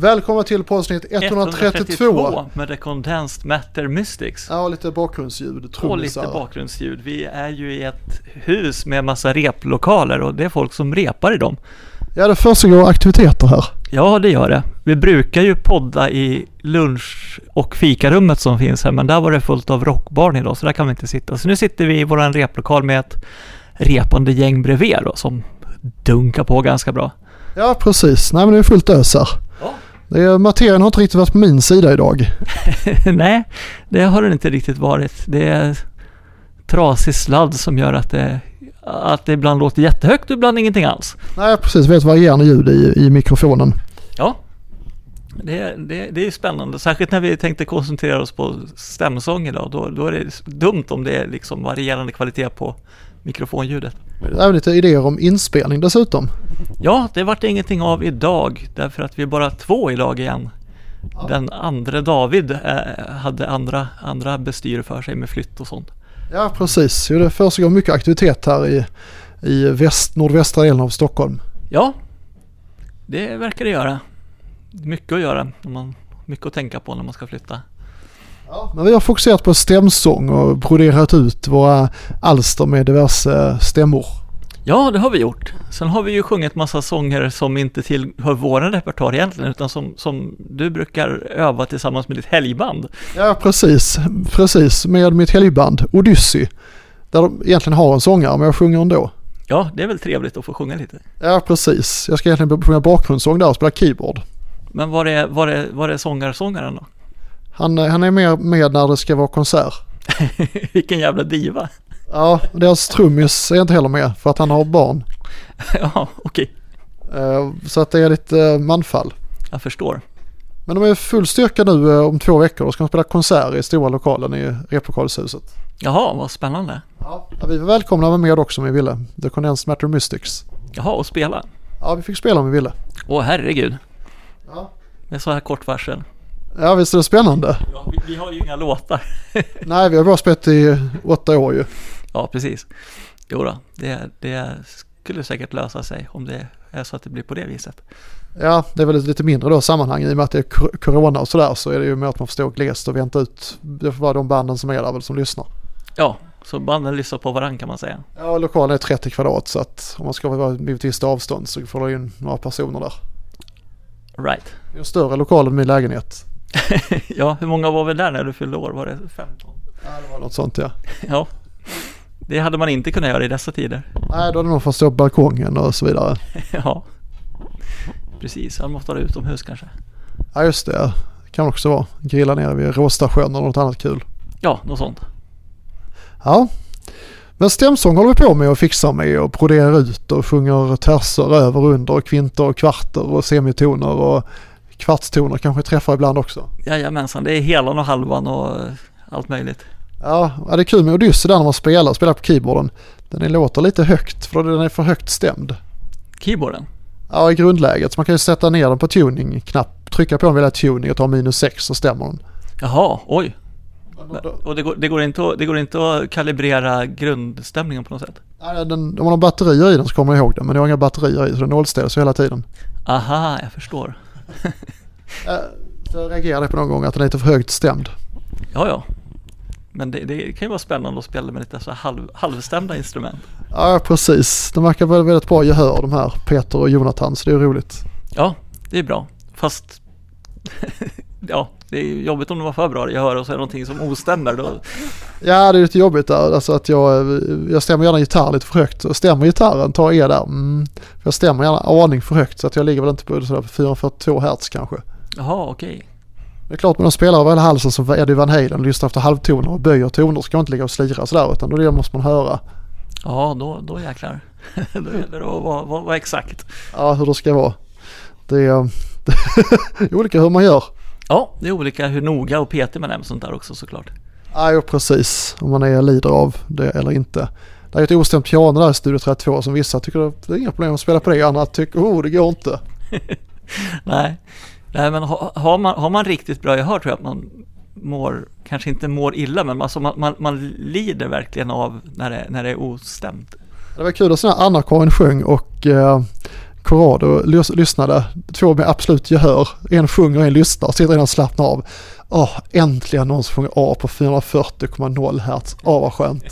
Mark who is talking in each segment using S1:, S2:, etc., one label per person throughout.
S1: Välkomna till poddavsnitt 132.
S2: 132 med The Condensed Matter Mystics.
S1: Ja, och lite bakgrundsljud,
S2: Och lite
S1: trummisar.
S2: bakgrundsljud. Vi är ju i ett hus med massa replokaler och det är folk som repar i dem.
S1: ja, det försiggår aktiviteter här.
S2: Ja, det gör det. Vi brukar ju podda i lunch och fikarummet som finns här, men där var det fullt av rockbarn idag, så där kan vi inte sitta. Så nu sitter vi i våran replokal med ett repande gäng bredvid då, som dunkar på ganska bra.
S1: Ja, precis. Nej, men det är fullt ös här.
S2: Ja.
S1: Det är, materien har inte riktigt varit på min sida idag.
S2: Nej, det har det inte riktigt varit. Det är trasig sladd som gör att det, att det ibland låter jättehögt och ibland ingenting alls.
S1: Nej, precis. Vi har ett varierande ljud i, i mikrofonen.
S2: Ja, det, det, det är ju spännande. Särskilt när vi tänkte koncentrera oss på stämsång idag. Då, då är det dumt om det är liksom varierande kvalitet på mikrofonljudet.
S1: Även lite idéer om inspelning dessutom.
S2: Ja, det vart ingenting av idag därför att vi är bara två i lag igen. Den andra David eh, hade andra, andra bestyr för sig med flytt och sånt.
S1: Ja, precis. Jo, det försiggår mycket aktivitet här i, i väst, nordvästra delen av Stockholm.
S2: Ja, det verkar det göra. Mycket att göra, när man, mycket att tänka på när man ska flytta.
S1: Men vi har fokuserat på stämsång och broderat ut våra alster med diverse stämmor.
S2: Ja, det har vi gjort. Sen har vi ju sjungit massa sånger som inte tillhör vår repertoar egentligen, utan som, som du brukar öva tillsammans med ditt helgband.
S1: Ja, precis. Precis, med mitt helgband Odyssey. Där de egentligen har en sångare, men jag sjunger ändå.
S2: Ja, det är väl trevligt att få sjunga lite.
S1: Ja, precis. Jag ska egentligen sjunga bakgrundssång där och spela keyboard.
S2: Men var är, var är, var är sångarsångaren då?
S1: Han, eh, han är med, med när det ska vara konsert.
S2: Vilken jävla diva.
S1: Ja, deras trummis är inte heller med för att han har barn.
S2: ja, okej.
S1: Eh, Så att det är lite eh, manfall.
S2: Jag förstår.
S1: Men de är full styrka nu eh, om två veckor. Då ska de spela konsert i stora lokalen i replokalshuset.
S2: Jaha, vad spännande.
S1: Ja, vi var välkomna att vara med också om vi ville. The Condensed Matter Mystics.
S2: Jaha, och spela.
S1: Ja, vi fick spela om vi ville.
S2: Åh, herregud.
S1: Ja.
S2: Med så här kort varsel.
S1: Ja, visst är det spännande?
S2: Ja, vi, vi har ju inga låtar.
S1: Nej, vi har bara spelat i åtta år ju.
S2: Ja, precis. Jo då, det, det skulle säkert lösa sig om det är så att det blir på det viset.
S1: Ja, det är väl ett lite mindre då sammanhang i och med att det är kor- corona och sådär så är det ju mer att man får stå glest och vänta ut. Det får vara de banden som är där väl som lyssnar.
S2: Ja, så banden lyssnar på varandra kan man säga.
S1: Ja, lokalen är 30 kvadrat så att om man ska vara vid ett visst avstånd så får du in några personer där.
S2: Right.
S1: Det är en större lokal än min lägenhet.
S2: Ja, hur många var vi där när du fyllde år? Var det 15?
S1: Ja, det var något sånt ja.
S2: Ja, det hade man inte kunnat göra i dessa tider.
S1: Nej, då hade någon fått stå på balkongen och så vidare.
S2: Ja, precis. Han måste vara utomhus kanske.
S1: Ja, just det. ja. Det kan också vara. Grilla ner vid Råstasjön eller något annat kul.
S2: Ja, något sånt.
S1: Ja. Men stämsång håller vi på med och fixar med och broderar ut och sjunger terser över, under, kvinter, kvarter och semitoner och kvartstoner kanske träffar ibland också.
S2: Jajamensan, det är helan och halvan och eh, allt möjligt.
S1: Ja, ja, det är kul med Odyssey där när man spelar, spelar på keyboarden. Den är- låter lite högt för den är för högt stämd.
S2: Keyboarden?
S1: Ja, i grundläget. Så man kan ju sätta ner den på tuning, knapp, trycka på den vid tuning och ta minus 6 så stämmer den.
S2: Jaha, oj. Och det går, det, går inte att, det går inte att kalibrera grundstämningen på något sätt?
S1: Ja, den, om man har batterier i den så kommer jag ihåg den, men jag har inga batterier i så den nollställs ju hela tiden.
S2: Aha, jag förstår.
S1: Ja, Jag Eh, reagerade på någon gång att den är lite för högt stämd.
S2: Ja, ja. Men det, det kan ju vara spännande att spela med lite så här halv, halvstämda instrument.
S1: Ja, precis. De verkar väl väldigt bra gehör de här, Peter och Jonathan, så det är roligt.
S2: Ja, det är bra. Fast, ja, det är ju jobbigt om det var för bra gehör och så är det någonting som ostämmer. Då.
S1: Ja, det är lite jobbigt där, alltså att jag, jag stämmer gärna gitarr lite för högt. Och Stämmer gitarren, tar E där. Mm. Jag stämmer gärna aning för högt, så att jag ligger väl inte på sådär 442 hertz kanske.
S2: Jaha, okej.
S1: Det är klart, men de spelar över hela halsen som Eddie Van Halen, lyssnar efter halvtoner och böjer toner, ska man inte ligga och slira sådär, utan då det måste man höra
S2: Ja, då, då jäklar. då gäller det att vara, vara, vara exakt.
S1: ja, hur det ska vara. Det är, det är olika hur man gör.
S2: Ja, det är olika hur noga och petig man är med sånt där också såklart.
S1: Ja, jo, precis. Om man är lider av det eller inte. Det är ett ostämt piano där i Studio 32 som vissa tycker det är inga problem att spela på det. Andra tycker oh det går inte.
S2: Nej, Nej men ha, har, man, har man riktigt bra gehör tror jag att man mår, kanske inte mår illa, men alltså man, man, man lider verkligen av när det, när det är ostämt.
S1: Det var kul att sån här Anna-Karin sjöng och eh, Corrado lys- lyssnade, två med absolut gehör, en sjunger och en lyssnar, sitter redan och slappnar av. Åh, äntligen någon som sjunger A på 440,0 hertz. Åh, vad skönt.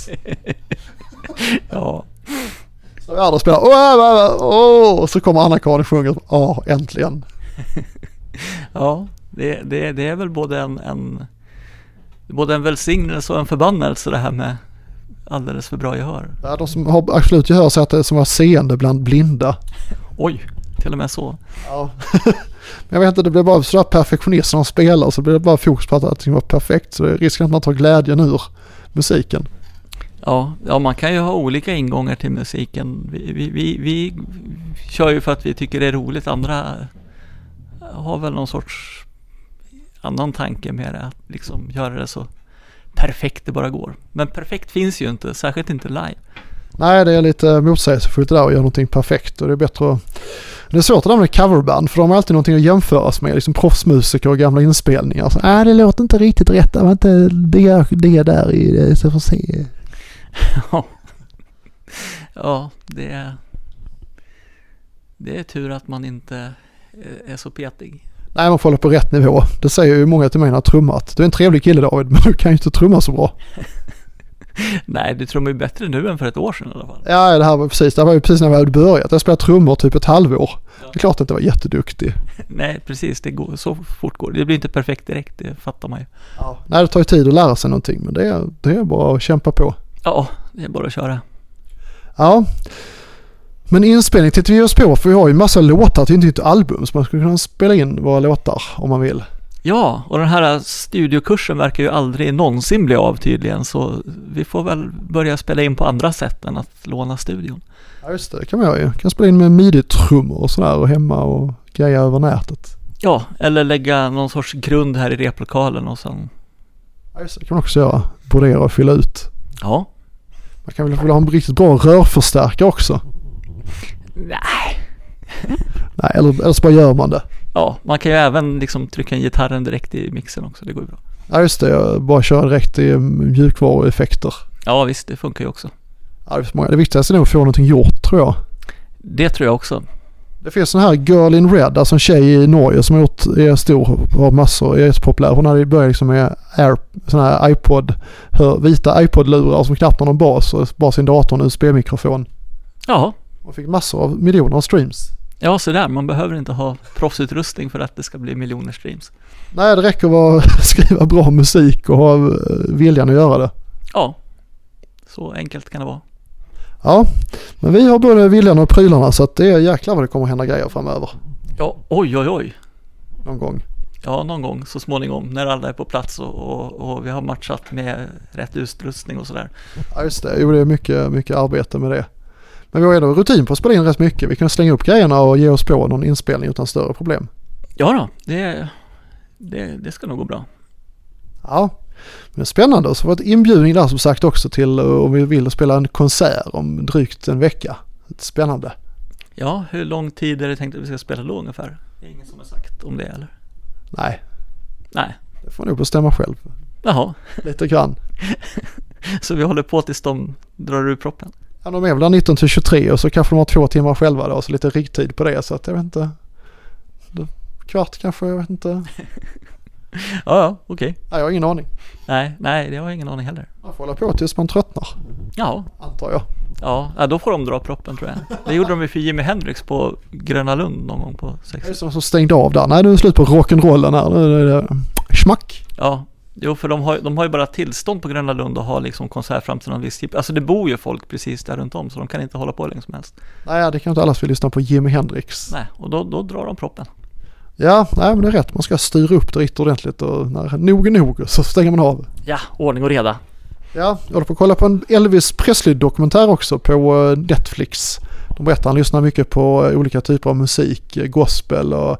S2: Ja,
S1: Så är det och spelar, åh, åh, åh, och så kommer Anna-Karin och sjunger, åh, äntligen.
S2: ja det, det, det är väl både en, en, både en välsignelse och en förbannelse det här med alldeles för bra gehör.
S1: Ja, De som har absolut gehör säger att det är som var seende bland blinda.
S2: Oj, till och med så.
S1: Ja. Men jag vet inte, det blir bara sådär perfektionist när de spelar så blir alltså, det bara fokus på att allting var perfekt. Så det är risken att man tar glädjen ur musiken.
S2: Ja, ja, man kan ju ha olika ingångar till musiken. Vi, vi, vi, vi kör ju för att vi tycker det är roligt. Andra har väl någon sorts annan tanke med det. Att liksom göra det så perfekt det bara går. Men perfekt finns ju inte, särskilt inte live.
S1: Nej, det är lite motsägelsefullt det där att göra någonting perfekt och det är bättre att... Det är svårt att använda coverband för de har alltid någonting att jämföras med, liksom proffsmusiker och gamla inspelningar. Så, Nej, det låter inte riktigt rätt, det var inte det, det där i det, så får se.
S2: Ja, ja det, är, det är tur att man inte eh, är så petig.
S1: Nej, man får hålla på rätt nivå. Det säger ju många till mig när jag trummat. Du är en trevlig kille David, men du kan ju inte trumma så bra.
S2: Nej, du trummar ju bättre nu än för ett år sedan i alla fall.
S1: Ja, det här var precis, det här var ju precis när jag hade börjat. Jag spelade trummor typ ett halvår. Det är klart att jag var jätteduktig.
S2: Nej, precis. Det går, så fort går det. Det blir inte perfekt direkt, det fattar man ju.
S1: Nej, det tar ju tid att lära sig någonting, men det är, det är bara att kämpa på.
S2: Ja, det är bara att köra.
S1: Ja. Men inspelning tittar vi oss på, för vi har ju massa låtar till ett nytt album, så man skulle kunna spela in våra låtar om man vill.
S2: Ja, och den här studiokursen verkar ju aldrig någonsin bli av tydligen, så vi får väl börja spela in på andra sätt än att låna studion.
S1: Ja, just det, det kan man göra ju. Kan spela in med midi-trummor och sådär och hemma och greja över nätet.
S2: Ja, eller lägga någon sorts grund här i replokalen och sen,
S1: Ja, just det, det kan man också göra. Brodera och fylla ut.
S2: ja.
S1: Man kan väl vilja ha en riktigt bra rörförstärkare också.
S2: Nej.
S1: Nej, eller, eller så bara gör man det.
S2: Ja, man kan ju även liksom trycka in gitarren direkt i mixen också, det går ju bra.
S1: Ja, just det, jag bara kör direkt i mm, mjukvarueffekter.
S2: Ja, visst, det funkar ju också.
S1: Ja, det, finns många. det viktigaste är nog att få någonting gjort tror jag.
S2: Det tror jag också.
S1: Det finns sån här Girl in Red, alltså en tjej i Norge som har gjort, är stor, har massor, är jättepopulär. Hon hade ju börjat liksom med Air, sån här iPod, hör, vita iPod-lurar som knappt har någon bas och bara sin dator och en USB-mikrofon.
S2: Ja,
S1: Och fick massor av miljoner av streams.
S2: ja så där. man behöver inte ha proffsutrustning för att det ska bli miljoner streams.
S1: Nej, det räcker att vara, skriva bra musik och ha eh, viljan att göra det.
S2: Ja, så enkelt kan det vara.
S1: Ja, men vi har både viljan och prylarna så att det är jäklar vad det kommer hända grejer framöver.
S2: Ja, oj, oj, oj.
S1: Någon gång.
S2: Ja, någon gång så småningom när alla är på plats och, och, och vi har matchat med rätt utrustning och sådär.
S1: Ja just det, jo det är mycket, mycket arbete med det. Men vi har ändå rutin på att spela in rätt mycket. Vi kan slänga upp grejerna och ge oss på någon inspelning utan större problem.
S2: Ja då, det, det, det ska nog gå bra.
S1: Ja, men spännande. Och Så var det ett inbjudning där som sagt också till eh, om vi vill spela en konsert om drygt en vecka. Spännande.
S2: Ja, hur lång tid är det tänkt att vi ska spela då ungefär? Det är ingen som har sagt om det eller?
S1: Nej,
S2: Nej,
S1: det får nog bestämma själv.
S2: jaha,
S1: Lite grann.
S2: så vi håller på tills de drar ur proppen.
S1: Ja, de är väl där 19 till 23 och så kanske de har två timmar själva då, så lite riktid på det. Så att jag vet inte. Kvart kanske, jag vet inte.
S2: Ja, ja, okej.
S1: Nej, jag har ingen aning.
S2: Nej, nej, det har jag ingen aning heller.
S1: Man får hålla på tills man tröttnar,
S2: Jaha,
S1: antar jag.
S2: ja, ja, då får de dra proppen tror jag. Det gjorde de ju för Jimi Hendrix på Gröna Lund någon gång på
S1: Det är
S2: 60
S1: som som stängde av där. Nej, nu är det slut på rock'n'rollen här. Nu är det schmack.
S2: Ja, jo för de har, de har ju bara tillstånd på Gröna Lund och har liksom konsert fram till någon viss tid. Alltså det bor ju folk precis där runt om så de kan inte hålla på hur länge som helst.
S1: Nej, det kan inte alls vi lyssna på Jimi Hendrix.
S2: Nej, och då, då drar de proppen.
S1: Ja, nej men det är rätt. Man ska styra upp det riktigt ordentligt och när nog är nog så stänger man av.
S2: Ja, ordning och reda.
S1: Ja, jag håller på att kolla på en Elvis Presley-dokumentär också på eh, Netflix. De berättar att han lyssnar mycket på eh, olika typer av musik, eh, gospel och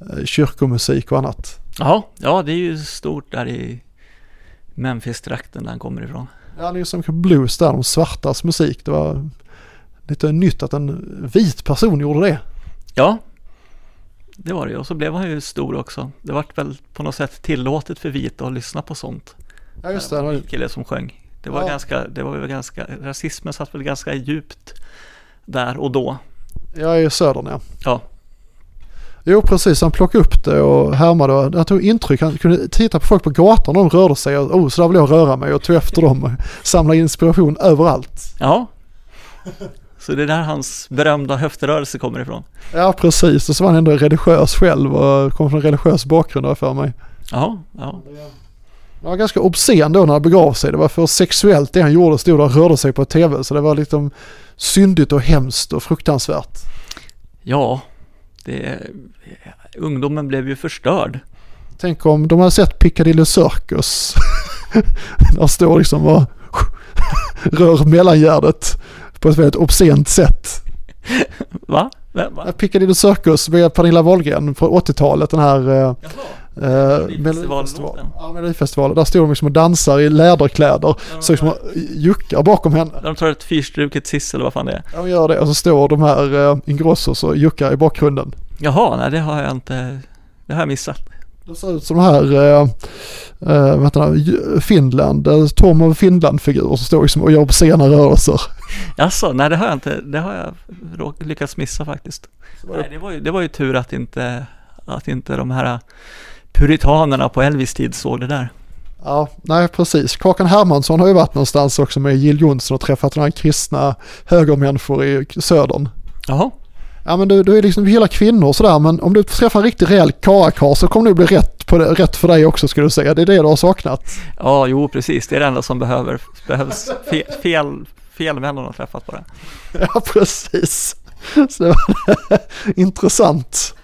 S1: eh, kyrkomusik och annat.
S2: Jaha, ja det är ju stort där i Memphis-trakten där han kommer ifrån.
S1: Ja, han är ju som blues där, de svartas musik. Det var lite nytt att en vit person gjorde det.
S2: Ja, det var det ju. Och så blev han ju stor också. Det vart väl på något sätt tillåtet för vita att lyssna på sånt.
S1: Ja, just det.
S2: det
S1: Han
S2: var
S1: har-
S2: en kille som sjöng. Det var
S1: Ja.
S2: ganska, det var väl ganska, rasismen satt väl ganska djupt där och då.
S1: Jag är i södern ja.
S2: Ja.
S1: Jo precis, han plockade upp det och härmade. och Han tog intryck, han kunde titta på folk på gatan och de rörde sig. Och, oh, så där vill jag röra mig och tog efter dem. och Samlade inspiration överallt.
S2: Ja. Så det är där hans berömda höftrörelse kommer ifrån.
S1: Ja precis, och så var han ändå religiös själv och kom från en religiös bakgrund har jag för mig.
S2: Ja, ja.
S1: Han var ganska obscen då när han begav sig. Det var för sexuellt det han gjorde, stod där och rörde sig på tv. Så det var liksom syndigt och hemskt och fruktansvärt.
S2: Ja, det, ungdomen blev ju förstörd.
S1: Tänk om de hade sett Piccadilly Circus. där står liksom och rör mellangärdet på ett väldigt obscent sätt.
S2: Va? Vem, va?
S1: Piccadilly Circus med Pernilla Wahlgren från 80-talet, den här eh, Eh,
S2: Melodifestivalen.
S1: Ja, Melodifestivalen. Där står de liksom och dansar i läderkläder. Så liksom och juckar bakom henne.
S2: De tar ett fyrstruket siss eller vad fan det är.
S1: De gör det och så står de här eh, Ingrossos och juckar i bakgrunden.
S2: Jaha, nej det har jag inte, det har jag missat.
S1: De ser ut som de här, eh, eh, vad heter det, Ju- Finland, eh, Tom av Finland-figurer som står liksom och gör obscena rörelser.
S2: Jaså, nej det har jag inte, det har jag råk- lyckats missa faktiskt. Nej, det var ju, det var ju tur att inte, att inte de här puritanerna på Elvis tid såg det där.
S1: Ja, nej precis. Kakan Hermansson har ju varit någonstans också med Jill Johnson och träffat några kristna högermänniskor i södern.
S2: Jaha,
S1: Ja men du, du är liksom, du gillar kvinnor och sådär men om du träffar en riktig rejäl karakar så kommer det bli rätt, på det, rätt för dig också skulle du säga. Det är det du har saknat.
S2: ja jo precis, det är det enda som behöver, behövs. Fel, fel, fel män hon har träffat på det.
S1: Ja precis. Så det var intressant.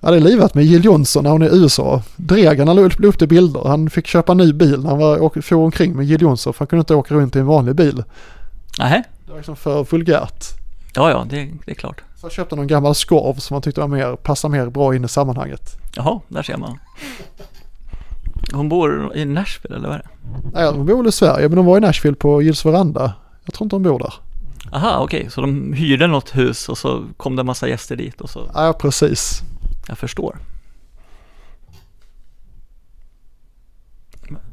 S1: Ja det är livat med Jill Johnson när hon är i USA. Dregen han la upp la upp det bilder. Han fick köpa en ny bil när han var, åk, for omkring med Jill Johnson för han kunde inte åka runt i en vanlig bil.
S2: Nej,
S1: Det var liksom för vulgärt.
S2: ja ja, det, det är klart.
S1: Så han köpte någon gammal skorv som han tyckte var mer, passade mer bra in i sammanhanget.
S2: Jaha, där ser man. Hon bor i Nashville eller vad är det?
S1: Nej, de bor väl i Sverige men de var i Nashville på Jills veranda. Jag tror inte de bor där.
S2: Aha, okej, så de hyrde något hus och så kom det en massa gäster dit och så,
S1: Ja precis.
S2: jag förstår.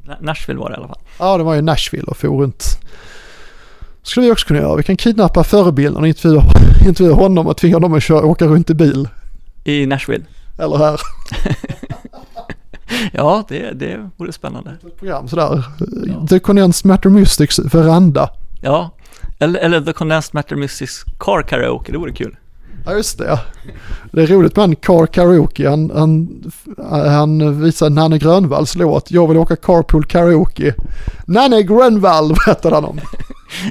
S2: Na- Nashville var det i alla fall.
S1: Ja, det var ju Nashville och for runt. skulle vi också kunna göra. Vi kan kidnappa förebilden och intervjua, intervjua honom och tvinga dem att köra, åka runt i bil.
S2: I Nashville.
S1: Eller här,
S2: Ja, det, det vore spännande.
S1: ett program sådär. The Condensed Matter Mystics veranda.
S2: Ja, eller, eller The Condensed Matter Mystics Car Karaoke, det vore kul.
S1: Ja, just det. Det är roligt med en Car Karaoke. Han, han, han visar Nanne Grönvalls låt. Jag vill åka carpool karaoke. Nanne Grönvall berättade han om.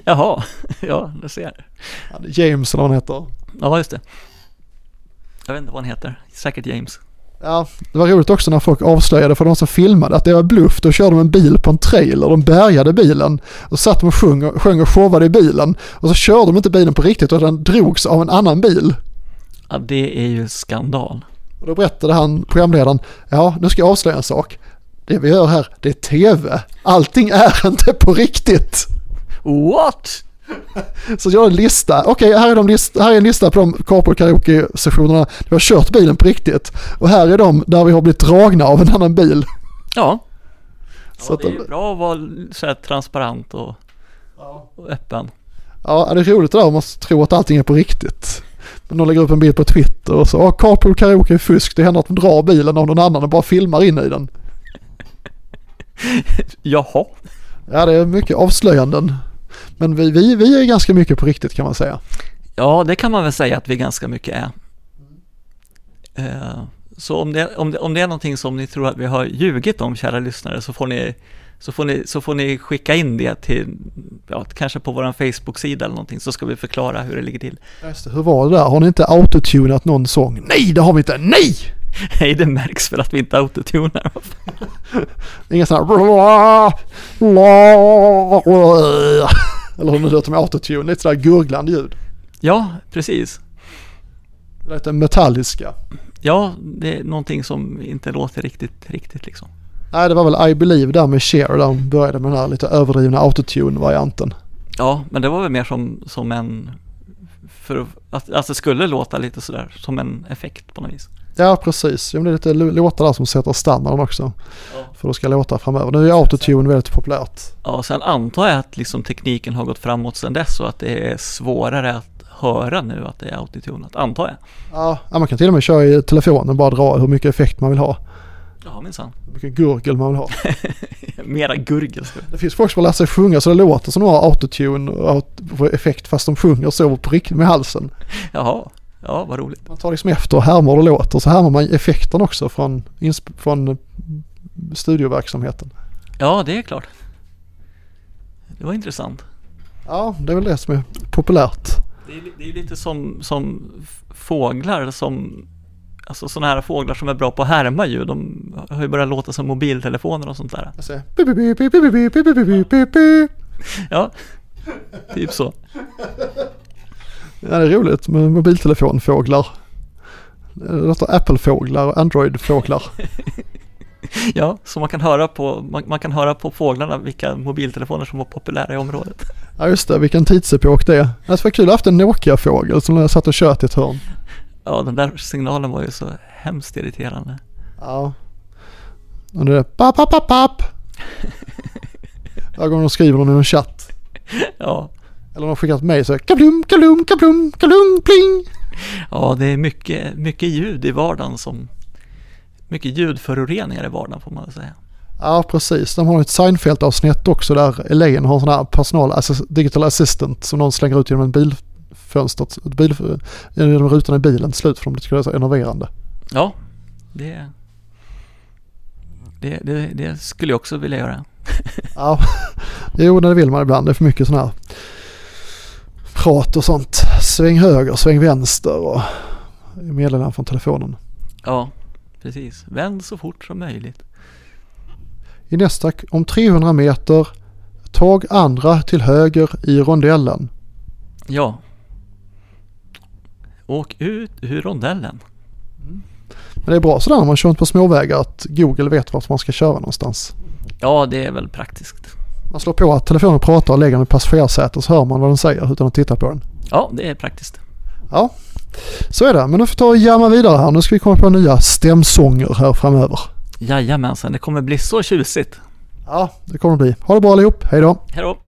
S2: Jaha, ja, du ser.
S1: Han är James eller vad han heter.
S2: Ja, just det. Jag vet inte vad han heter, säkert James.
S1: Ja, det var roligt också när folk avslöjade för de som filmade att det var bluff. Då körde de en bil på en trailer, de bärgade bilen och satt de och sjöng, och- sjöng och showade i bilen. Och så körde de inte bilen på riktigt utan den drogs av en annan bil.
S2: Ja, det är ju skandal.
S1: Och då berättade han, programledaren, ja nu ska jag avslöja en sak. Det vi gör här, det är tv. Allting är inte på riktigt.
S2: What?
S1: Så jag har en lista. Okej, här, är de list- här är en lista på de carpool karaoke-sessionerna där vi har kört bilen på riktigt. Och här är de där vi har blivit dragna av en annan bil.
S2: Ja,
S1: Så
S2: ja det
S1: att-
S2: är ju bra att vara så här transparent och, och öppen.
S1: Ja, det är roligt det där om man tror att allting är på riktigt. Men de lägger upp en bild på Twitter och så, ja, carpool karaoke är fusk, det händer att de drar bilen av någon annan och bara filmar in i den.
S2: Jaha,
S1: Ja, det är mycket avslöjanden. Men vi, vi, vi är ganska mycket på riktigt kan man säga.
S2: ja det kan man väl säga att vi ganska mycket är. Eh, Så om det, om, det, om det är någonting som ni tror att vi har ljugit om, kära lyssnare, så får ni, så får ni, så får ni skicka in det till, ja, kanske på vår Facebook-sida eller någonting, så ska vi förklara hur det ligger till.
S1: Just det, hur var det där? Har ni inte autotunat någon sång? Nej, det har vi inte! Nej!
S2: Nej, det märks för att vi inte autotunar.
S1: Inga sådana här... Eller hur det låter med autotune, lite sådär gurglande ljud.
S2: Ja, precis.
S1: Lite metalliska.
S2: Ja, det är någonting som inte låter riktigt, riktigt liksom.
S1: Nej, det var väl I Believe där med Cher, där de började med den här lite överdrivna autotune-varianten.
S2: Ja, men det var väl mer som, som en... För att, att det skulle låta lite sådär, som en effekt på något vis.
S1: Ja, precis. Ja, men det är lite lo- låtar där som sätter standarden också.
S2: Ja.
S1: För det ska låta framöver. Nu är autotune väldigt populärt.
S2: Ja, sen antar jag att liksom tekniken har gått framåt sedan dess och att det är svårare att höra nu att det är autotunat, antar jag.
S1: Ja, ja, man kan till och med köra i telefonen, bara dra hur mycket effekt man vill ha.
S2: Ja, minsann.
S1: Hur mycket gurgel man vill ha.
S2: Mera gurgel. ska vi-
S1: Det finns folk som har lärt sig sjunga så det låter som de har autotune och aut- effekt fast de sjunger så på riktigt med halsen.
S2: Jaha, ja vad roligt.
S1: Man tar liksom efter och härmar och låter så härmar man effekten också från, insp- från eh, studioverksamheten.
S2: Ja, det är klart. Det var intressant.
S1: Ja, det är väl det som är populärt.
S2: Det är, li- det är lite som, som f- fåglar som, alltså sådana här fåglar som är bra på att härma ljud. De har ju börjat låta som mobiltelefoner och sånt där.
S1: Jag säger, "Bi, bi, bi, bi, bi, bi, bi, bi, bi, bi, bi."
S2: Ja, typ så.
S1: Ja, det är roligt med mobiltelefonfåglar. Det låter Apple-fåglar och Android-fåglar.
S2: Ja, så man kan höra på, man, man kan höra på fåglarna vilka mobiltelefoner som var populära i området.
S1: Ja just det, vilken tidsepok det är. Alltså, det var kul att ha haft en Nokia-fågel som jag satt och tjöt i ett hörn.
S2: Ja, den där signalen var ju så hemskt irriterande.
S1: Ja. Och det är papp, papp, papp, papp. Varje gång de skriver någon i någon chatt.
S2: Ja,
S1: Eller de har skickat mig så är det kablum, kablum, kablum, kablum, pling.
S2: ja det är mycket, mycket ljud i vardagen som, mycket ljudföroreningar i vardagen får man väl säga.
S1: Ja precis, de har ett Seinfeld-avsnitt också där Elaine har en sån här personal, assist, digital assistant som någon slänger ut genom en bilfönster, ett bil, genom rutan i bilen till slut för de tycker det är så enerverande.
S2: Ja, det, det, det, det skulle jag också vilja göra.
S1: Ja, jo det vill man ibland. Det är för mycket sån här prat och sånt. Sväng höger, sväng vänster och meddelanden från telefonen.
S2: Ja, precis. Vänd så fort som möjligt.
S1: I nästa, om 300 meter, tag andra till höger i rondellen.
S2: Ja. Åk ut ur rondellen.
S1: Men det är bra sådär när man kör inte på småvägar att Google vet vart man ska köra någonstans.
S2: Ja, det är väl praktiskt.
S1: Man slår på att telefonen pratar och lägger den i passagerarsätet så hör man vad den säger utan att titta på den.
S2: Ja, det är praktiskt.
S1: Ja, så är det. Men nu får vi ta och jamma vidare här. Nu ska vi komma på nya stämsånger här framöver.
S2: Jajamensan, det kommer bli så tjusigt.
S1: Ja, det kommer det bli. Ha det bra allihop. Hej då!
S2: Hej då!